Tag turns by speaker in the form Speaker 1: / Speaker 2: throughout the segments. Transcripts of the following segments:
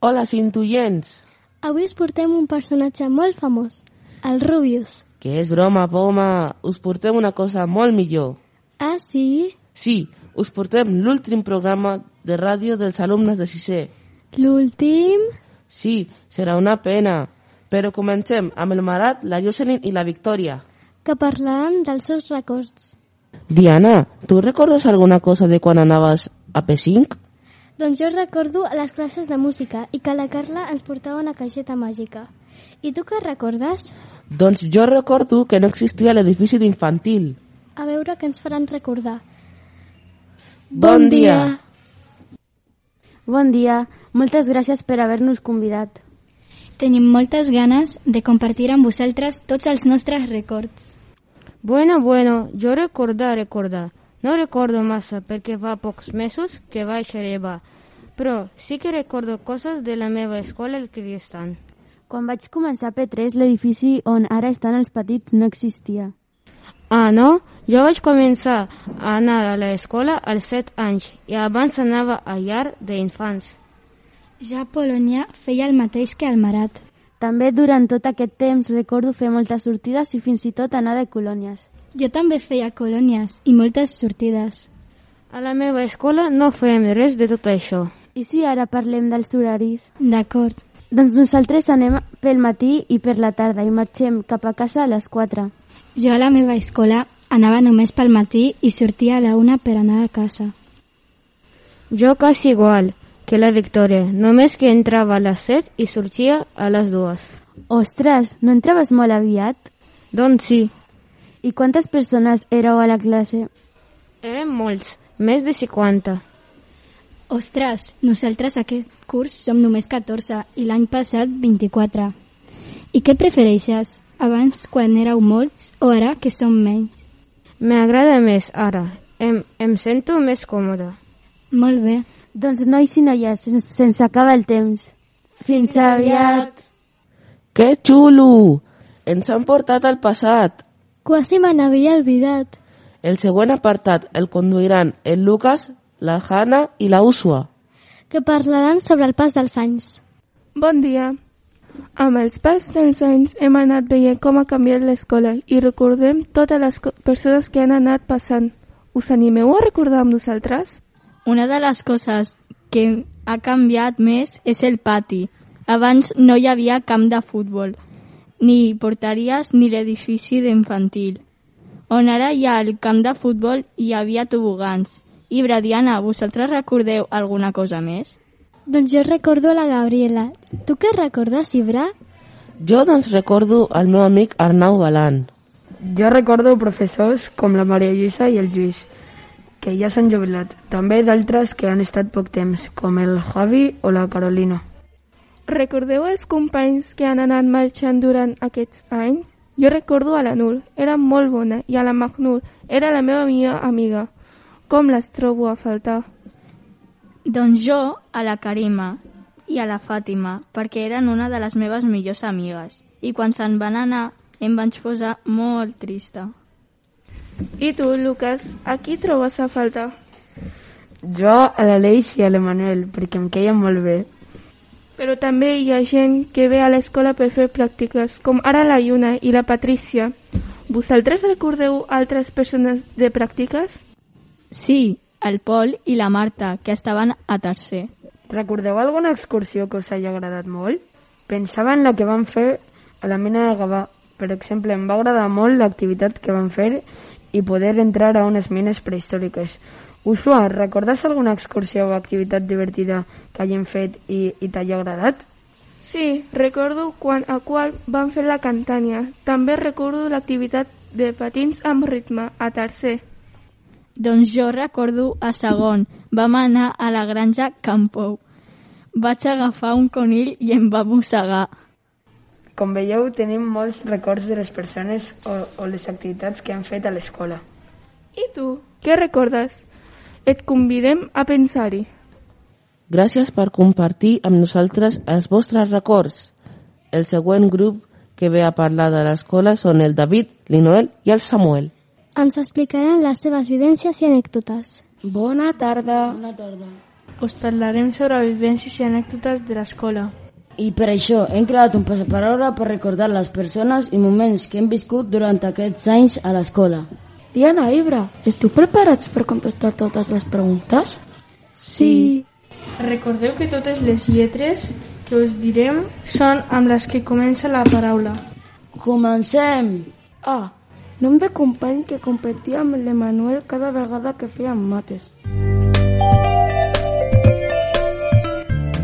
Speaker 1: Hola, cintullents!
Speaker 2: Avui us portem un personatge molt famós, el Rubius.
Speaker 1: Que és broma, poma! Us portem una cosa molt millor.
Speaker 2: Ah, sí?
Speaker 1: Sí, us portem l'últim programa de ràdio dels alumnes de sisè.
Speaker 2: L'últim?
Speaker 1: Sí, serà una pena. Però comencem amb el Marat, la Jocelyn i la Victòria.
Speaker 2: Que parlaran dels seus records.
Speaker 1: Diana, tu recordes alguna cosa de quan anaves a P5?
Speaker 2: Doncs jo recordo les classes de música i que la Carla ens portava una caixeta màgica. I tu què recordes?
Speaker 1: Doncs jo recordo que no existia l'edifici d'infantil.
Speaker 2: A veure què ens faran recordar.
Speaker 1: Bon dia.
Speaker 3: Bon dia, moltes gràcies per haver-nos convidat.
Speaker 4: Tenim moltes ganes de compartir amb vosaltres tots els nostres records.
Speaker 5: Bueno, bueno, jo recordar, recordar. No recordo massa perquè fa pocs mesos que vaig arribar, però sí que recordo coses de la meva escola al Kyrgyzstan.
Speaker 3: Quan vaig començar P3, l'edifici on ara estan els petits no existia.
Speaker 5: Ah, no? Jo vaig començar a anar a l'escola als 7 anys i abans anava a llar d'infants.
Speaker 4: Ja a Polònia feia el mateix que al Marat.
Speaker 3: També durant tot aquest temps recordo fer moltes sortides i fins i tot anar de colònies.
Speaker 4: Jo també feia colònies i moltes sortides.
Speaker 5: A la meva escola no fèiem res de tot això.
Speaker 3: I si ara parlem dels horaris?
Speaker 4: D'acord.
Speaker 3: Doncs nosaltres anem pel matí i per la tarda i marxem cap a casa a les 4.
Speaker 4: Jo a la meva escola anava només pel matí i sortia a la una per anar a casa.
Speaker 5: Jo quasi igual que la Victòria, només que entrava a les 7 i sortia a les 2.
Speaker 3: Ostres, no entraves molt aviat?
Speaker 5: Doncs sí,
Speaker 3: I quantes persones éreu a la classe?
Speaker 5: érem molts, més de 50.
Speaker 4: Ostres, nosaltres aquest curs som només 14 i l'any passat 24. I què prefereixes? Abans, quan éreu molts, o ara, que som menys?
Speaker 5: M'agrada més ara, em, em sento més còmoda.
Speaker 4: Molt bé.
Speaker 3: Doncs nois i noies, sen- se'ns acaba el temps. Fins, aviat.
Speaker 1: Que xulo! Ens han portat al passat.
Speaker 2: Quasi me n'havia olvidat.
Speaker 1: El següent apartat el conduiran el Lucas, la Hanna i la Usua.
Speaker 2: Que parlaran sobre el pas dels anys.
Speaker 6: Bon dia. Amb els pas dels anys hem anat veient com ha canviat l'escola i recordem totes les co- persones que han anat passant. Us animeu a recordar amb nosaltres?
Speaker 7: Una de les coses que ha canviat més és el pati. Abans no hi havia camp de futbol, ni porteries ni l'edifici d'infantil. On ara hi ha el camp de futbol hi havia tobogans. I, Bradiana, vosaltres recordeu alguna cosa més?
Speaker 2: Doncs jo recordo la Gabriela. Tu què recordes, Ibra?
Speaker 1: Jo doncs recordo el meu amic Arnau Balan.
Speaker 8: Jo recordo professors com la Maria Lluïsa i el Lluís, que ja s'han jubilat. També d'altres que han estat poc temps, com el Javi o la Carolina.
Speaker 6: Recordeu els companys que han anat marxant durant aquests anys? Jo recordo a la Nur, era molt bona, i a la Magnur, era la meva millor amiga. Com les trobo a faltar.
Speaker 7: Doncs jo a la Karima i a la Fàtima, perquè eren una de les meves millors amigues. I quan se'n van anar em vaig posar molt trista.
Speaker 6: I tu, Lucas, a qui trobes a faltar?
Speaker 8: Jo a l'Aleix i a l'Emanuel, perquè em queien molt bé.
Speaker 6: Però també hi ha gent que ve a l'escola per fer pràctiques, com ara la Lluna i la Patrícia. Vosaltres recordeu altres persones de pràctiques?
Speaker 7: Sí, el Pol i la Marta, que estaven a tercer.
Speaker 8: Recordeu alguna excursió que us hagi agradat molt? Pensava en la que van fer a la mina de Gavà. Per exemple, em va agradar molt l'activitat que van fer i poder entrar a unes mines prehistòriques. Usua, recordes alguna excursió o activitat divertida que hagin fet i, i t'hagi agradat?
Speaker 6: Sí, recordo quan a qual van fer la cantània. També recordo l'activitat de patins amb ritme a tercer.
Speaker 7: Doncs jo recordo a segon, vam anar a la granja Campou. Vaig agafar un conill i em va mossegar.
Speaker 8: Com veieu, tenim molts records de les persones o, o les activitats que han fet a l'escola.
Speaker 6: I tu, què recordes? Et convidem a pensar-hi.
Speaker 1: Gràcies per compartir amb nosaltres els vostres records. El següent grup que ve a parlar de l'escola són el David, l'Inoel i el Samuel.
Speaker 2: Ens explicaran les seves vivències i anècdotes.
Speaker 9: Bona tarda. Bona tarda.
Speaker 10: Us parlarem sobre vivències i anècdotes de l'escola.
Speaker 9: I per això hem creat un passaparola per recordar les persones i moments que hem viscut durant aquests anys a l'escola.
Speaker 10: Diana, Ibra, esteu preparats per contestar totes les preguntes? Sí. Recordeu que totes les lletres que us direm són amb les que comença la paraula.
Speaker 9: Comencem!
Speaker 10: A. Nom de company que competia amb l'Emanuel cada vegada que feien mates.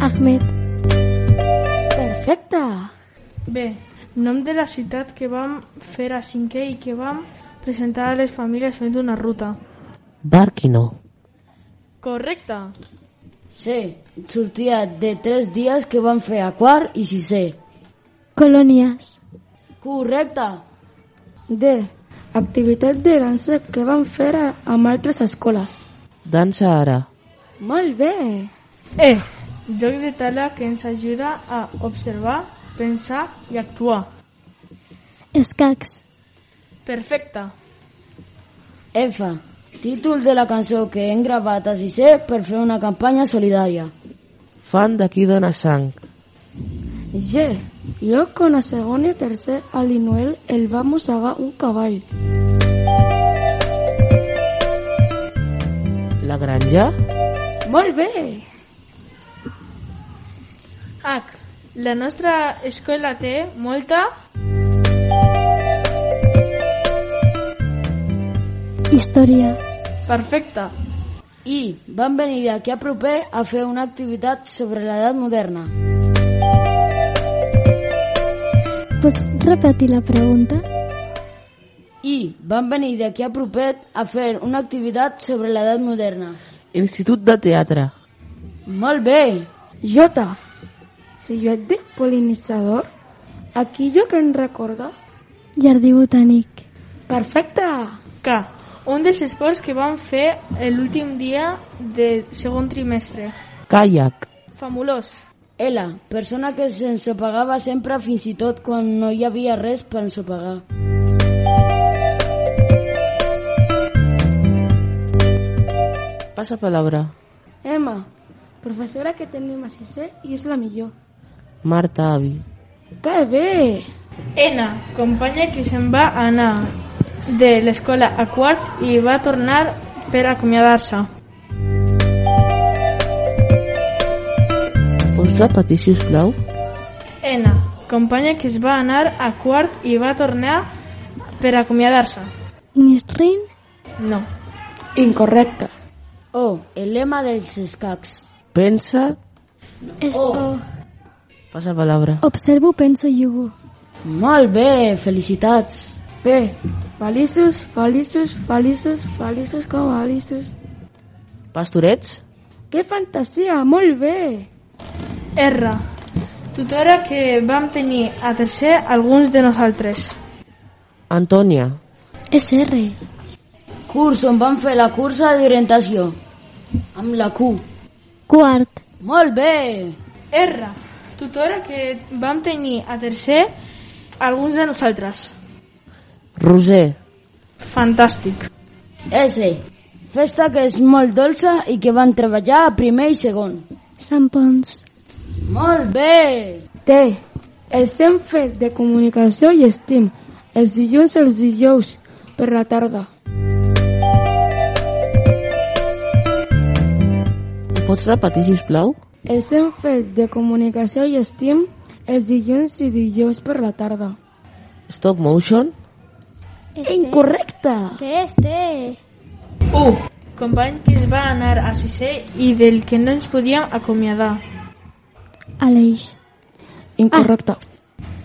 Speaker 5: Ahmed. Perfecte.
Speaker 10: B. Nom de la ciutat que vam fer a cinquè i que vam presentar a les famílies fent una ruta.
Speaker 1: Barquino.
Speaker 10: Correcte.
Speaker 9: C. Sortia de tres dies que van fer a quart i sisè.
Speaker 5: Colònies.
Speaker 9: Correcte!
Speaker 10: D. Activitat de dansa que vam fer a, amb altres escoles.
Speaker 1: Dansa ara.
Speaker 10: Molt bé. E. Joc de taula que ens ajuda a observar, pensar i actuar.
Speaker 5: Escacs.
Speaker 10: Perfecte.
Speaker 9: F. Títol de la cançó que hem gravat a sisè per fer una campanya solidària.
Speaker 1: Fan de qui dona sang.
Speaker 10: G. Jo, con a segon i tercer, a l'Inuel el va mossegar un cavall.
Speaker 1: La granja.
Speaker 10: Molt bé! H. La nostra escola té molta...
Speaker 5: Història.
Speaker 10: Perfecte.
Speaker 9: I van venir d'aquí a proper a fer una activitat sobre l'edat moderna.
Speaker 5: Pots repetir la pregunta?
Speaker 9: I van venir d'aquí a propet a fer una activitat sobre l'edat moderna.
Speaker 1: Institut de teatre.
Speaker 9: Molt bé!
Speaker 10: J. Si jo et dic polinitzador, aquí jo que en recorda?
Speaker 5: Jardí botànic.
Speaker 10: Perfecte! K. Un dels esports que vam fer l'últim dia de segon trimestre.
Speaker 1: Kayak.
Speaker 10: Famulós.
Speaker 9: L, persona que s'ensopegava sempre fins i tot quan no hi havia res per ensopegar.
Speaker 1: Passa palabra.
Speaker 10: Emma, professora que tenim a sisè i és la millor.
Speaker 1: Marta Avi.
Speaker 10: Que bé! N, companya que se'n va anar de l'escola a quart i va tornar per acomiadar-se.
Speaker 1: Pots repetir, sisplau?
Speaker 10: N, companya que es va anar a quart i va tornar per acomiadar-se.
Speaker 5: Nisrin.
Speaker 10: No.
Speaker 8: Incorrecte.
Speaker 9: O, el lema dels escacs.
Speaker 1: Pensa.
Speaker 5: És oh. o.
Speaker 1: Passa palabra.
Speaker 5: Observo, penso i jugo.
Speaker 9: Molt bé, felicitats!
Speaker 8: P. Feliços, feliços, feliços, feliços com a feliços.
Speaker 1: Pastorets.
Speaker 8: Que fantasia, molt bé!
Speaker 10: R. Tutora que vam tenir a tercer alguns de nosaltres.
Speaker 1: Antònia.
Speaker 5: És R.
Speaker 9: Curs on van fer la cursa d'orientació. Amb la Q.
Speaker 5: Quart.
Speaker 9: Molt bé!
Speaker 10: R. Tutora que vam tenir a tercer alguns de nosaltres.
Speaker 1: Roser.
Speaker 10: Fantàstic.
Speaker 9: S. Festa que és molt dolça i que van treballar a primer i segon.
Speaker 5: Sant Pons.
Speaker 9: Molt bé!
Speaker 8: T. Els hem fet de comunicació i estim. Els dilluns, els dijous, per la tarda.
Speaker 1: Ho pots repetir, sisplau?
Speaker 8: Els hem fet de comunicació i estim els dilluns i dijous per la tarda.
Speaker 1: Stop motion.
Speaker 5: Este.
Speaker 8: Incorrecte!
Speaker 5: Que este.
Speaker 10: U. Company que es va anar a sisè i del que no ens podíem acomiadar.
Speaker 5: Aleix.
Speaker 8: Incorrecte.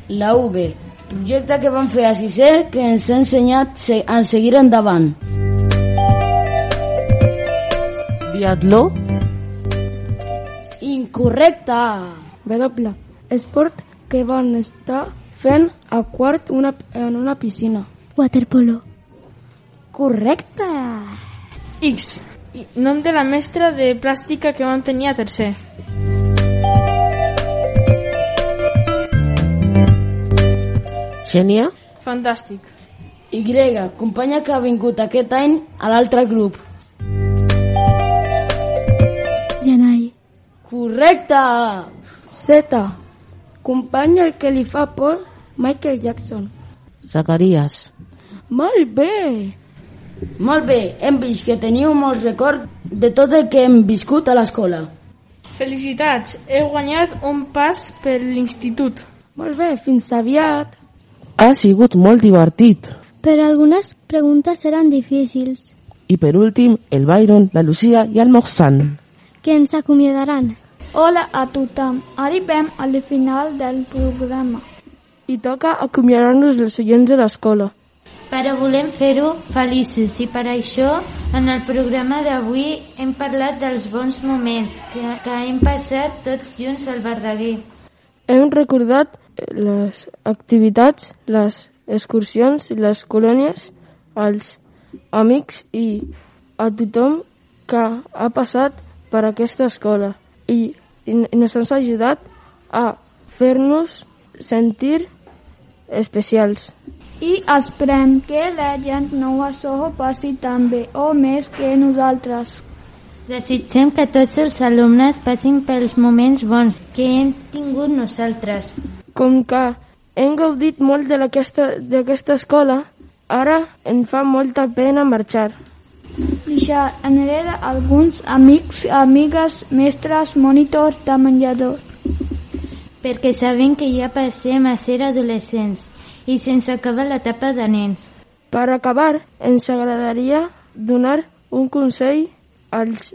Speaker 9: La V. Projecte que van fer a sisè que ens ha ensenyat se- a seguir endavant.
Speaker 1: Biatló.
Speaker 9: Incorrecte!
Speaker 8: W. Esport que van estar fent a quart una, en una piscina.
Speaker 5: Waterpolo.
Speaker 8: Correcte!
Speaker 10: X. Nom de la mestra de plàstica que vam tenir a tercer.
Speaker 1: Xènia.
Speaker 10: Fantàstic.
Speaker 9: Y. Companya que ha vingut aquest any a l'altre grup.
Speaker 5: Janai.
Speaker 9: Correcte!
Speaker 11: Z. Company el que li fa por Michael Jackson.
Speaker 1: Zacaries.
Speaker 11: Molt bé!
Speaker 9: Molt bé, hem vist que teniu molts records de tot el que hem viscut a l'escola.
Speaker 10: Felicitats, he guanyat un pas per l'institut.
Speaker 11: Molt bé, fins aviat.
Speaker 1: Ha sigut molt divertit.
Speaker 12: Però algunes preguntes eren difícils,
Speaker 1: I per últim, el Byron, la Lucía i el Mohsan.
Speaker 12: que ens acomiadaran.
Speaker 5: Hola a tothom. Arribem al final del programa.
Speaker 8: I toca acomiadar-nos dels oients de l'escola.
Speaker 13: Però volem fer-ho feliços i per això en el programa d'avui hem parlat dels bons moments que, que hem passat tots junts al Verdaguer.
Speaker 8: Hem recordat eh, les activitats, les excursions, les colònies, els amics i a tothom que ha passat per aquesta escola i, i ens han ajudat a fer-nos sentir especials.
Speaker 5: I esperem que la gent no a Soho passi tan bé o més que nosaltres.
Speaker 13: Desitgem que tots els alumnes passin pels moments bons que hem tingut nosaltres.
Speaker 8: Com que hem gaudit molt de l'aquesta- d'aquesta escola, ara em fa molta pena marxar.
Speaker 5: Deixar enrere alguns amics, amigues, mestres, monitors de menjador.
Speaker 13: Perquè sabem que ja passem a ser adolescents i sense acabar l'etapa de nens.
Speaker 8: Per acabar, ens agradaria donar un consell als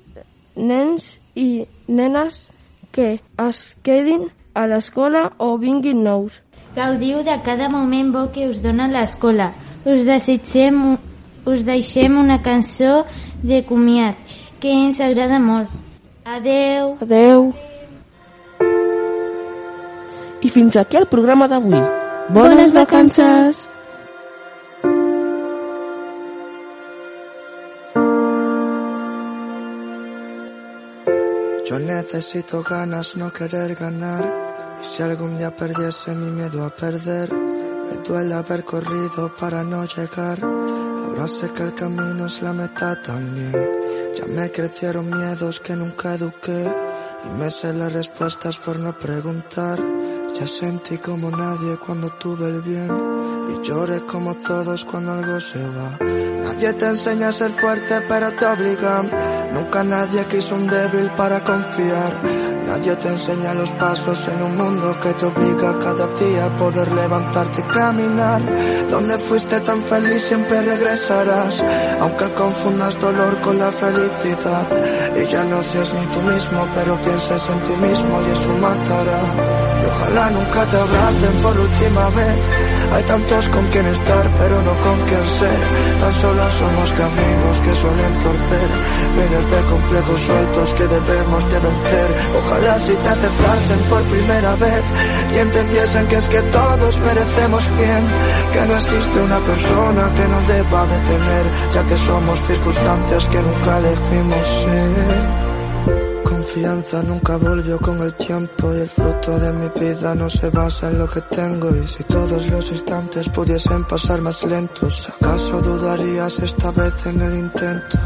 Speaker 8: nens i nenes que es quedin a l'escola o vinguin nous.
Speaker 13: Gaudiu de cada moment bo que us dona l'escola. Us desitgem, us deixem una cançó de comiat que ens agrada molt. Adeu!
Speaker 8: Adeu!
Speaker 1: I fins aquí el programa d'avui. Bones,
Speaker 13: Bones
Speaker 1: vacances!
Speaker 13: vacances!
Speaker 14: Yo necesito ganas, no querer ganar. Y si algún día perdiese mi miedo a perder, me duele haber corrido para no llegar. Ahora sé que el camino es la meta también. Ya me crecieron miedos que nunca eduqué. Y me sé las respuestas por no preguntar. Ya sentí como nadie cuando tuve el bien. Y lloré como todos cuando algo se va. Nadie te enseña a ser fuerte, pero te obligan. Nunca nadie quiso un débil para confiar. Nadie te enseña los pasos en un mundo que te obliga cada día a poder levantarte y caminar. Donde fuiste tan feliz siempre regresarás, aunque confundas dolor con la felicidad. Y ya no seas ni tú mismo, pero pienses en ti mismo y eso matará. Y ojalá nunca te abracen por última vez. Hay tantos con quien estar, pero no con quien ser. Tan solo son los caminos que suelen torcer. Vienes de complejos sueltos que debemos de vencer. Ojalá si te aceptasen por primera vez y entendiesen que es que todos merecemos bien. Que no existe una persona que nos deba detener, ya que somos circunstancias que nunca elegimos ser. Confianza nunca volvió con el tiempo y el fruto de mi vida no se basa en lo que tengo y si todos los instantes pudiesen pasar más lentos, ¿acaso dudarías esta vez en el intento?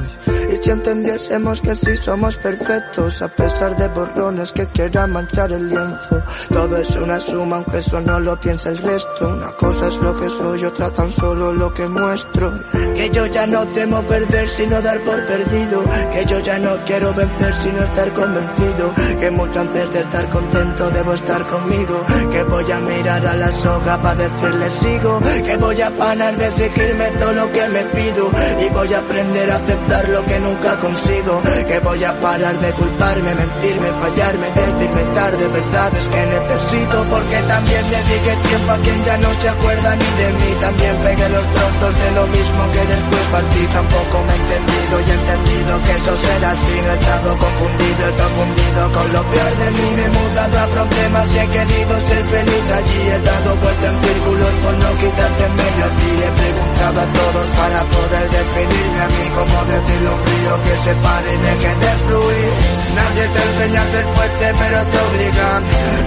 Speaker 14: Y si entendiésemos que sí somos perfectos, a pesar de borrones que quieran manchar el lienzo, todo es una suma aunque eso no lo piensa el resto, una cosa es lo que soy, otra tan solo lo que muestro, que yo ya no temo perder sino dar por perdido, que yo ya no quiero vencer sino estar convencido, que mucho antes de estar contento debo estar conmigo, que voy a mirar a la soga para decirle sigo, que voy a parar de exigirme todo lo que me pido y voy a aprender a aceptar lo que nunca consigo, que voy a parar de culparme, mentirme, fallarme, decirme tarde verdades que necesito porque también dediqué tiempo a quien ya no se acuerda ni de mí, también pegué los trozos de lo mismo que después partí, tampoco me he entendido y he entendido que eso será así, no he estado confundido, he confundido con lo peor de mí, me he mudado a problemas y he querido ser feliz allí, he dado vuelta en círculos por no quitarte en medio a ti, he preguntado a todos para poder definirme a mí, como decirle a un río que se pare y deje de fluir, nadie te enseña a ser fuerte pero te obligan,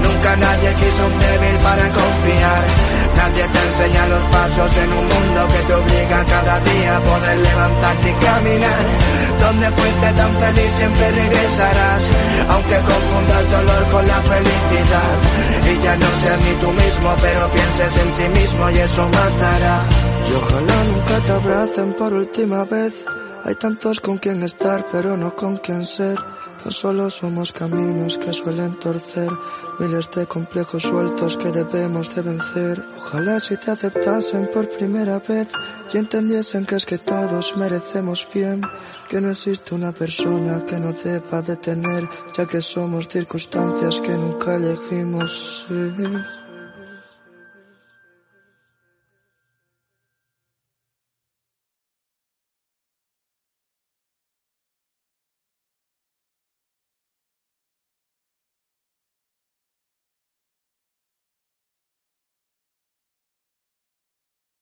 Speaker 14: nunca nadie quiso un débil para confiar, nadie te enseña los pasos en un mundo que te obliga cada día a poder levantarte y caminar,
Speaker 15: donde fuiste tan feliz siempre regresarás, aunque confunda el dolor con la felicidad. Y ya no seas ni tú mismo, pero pienses en ti mismo y eso matará.
Speaker 14: Y ojalá nunca te abracen por última vez. Hay tantos con quien estar, pero no con quien ser. Tan solo somos caminos que suelen torcer, miles de complejos sueltos que debemos de vencer. Ojalá si te aceptasen por primera vez y entendiesen que es que todos merecemos bien, que no existe una persona que no deba de tener, ya que somos circunstancias que nunca elegimos ser.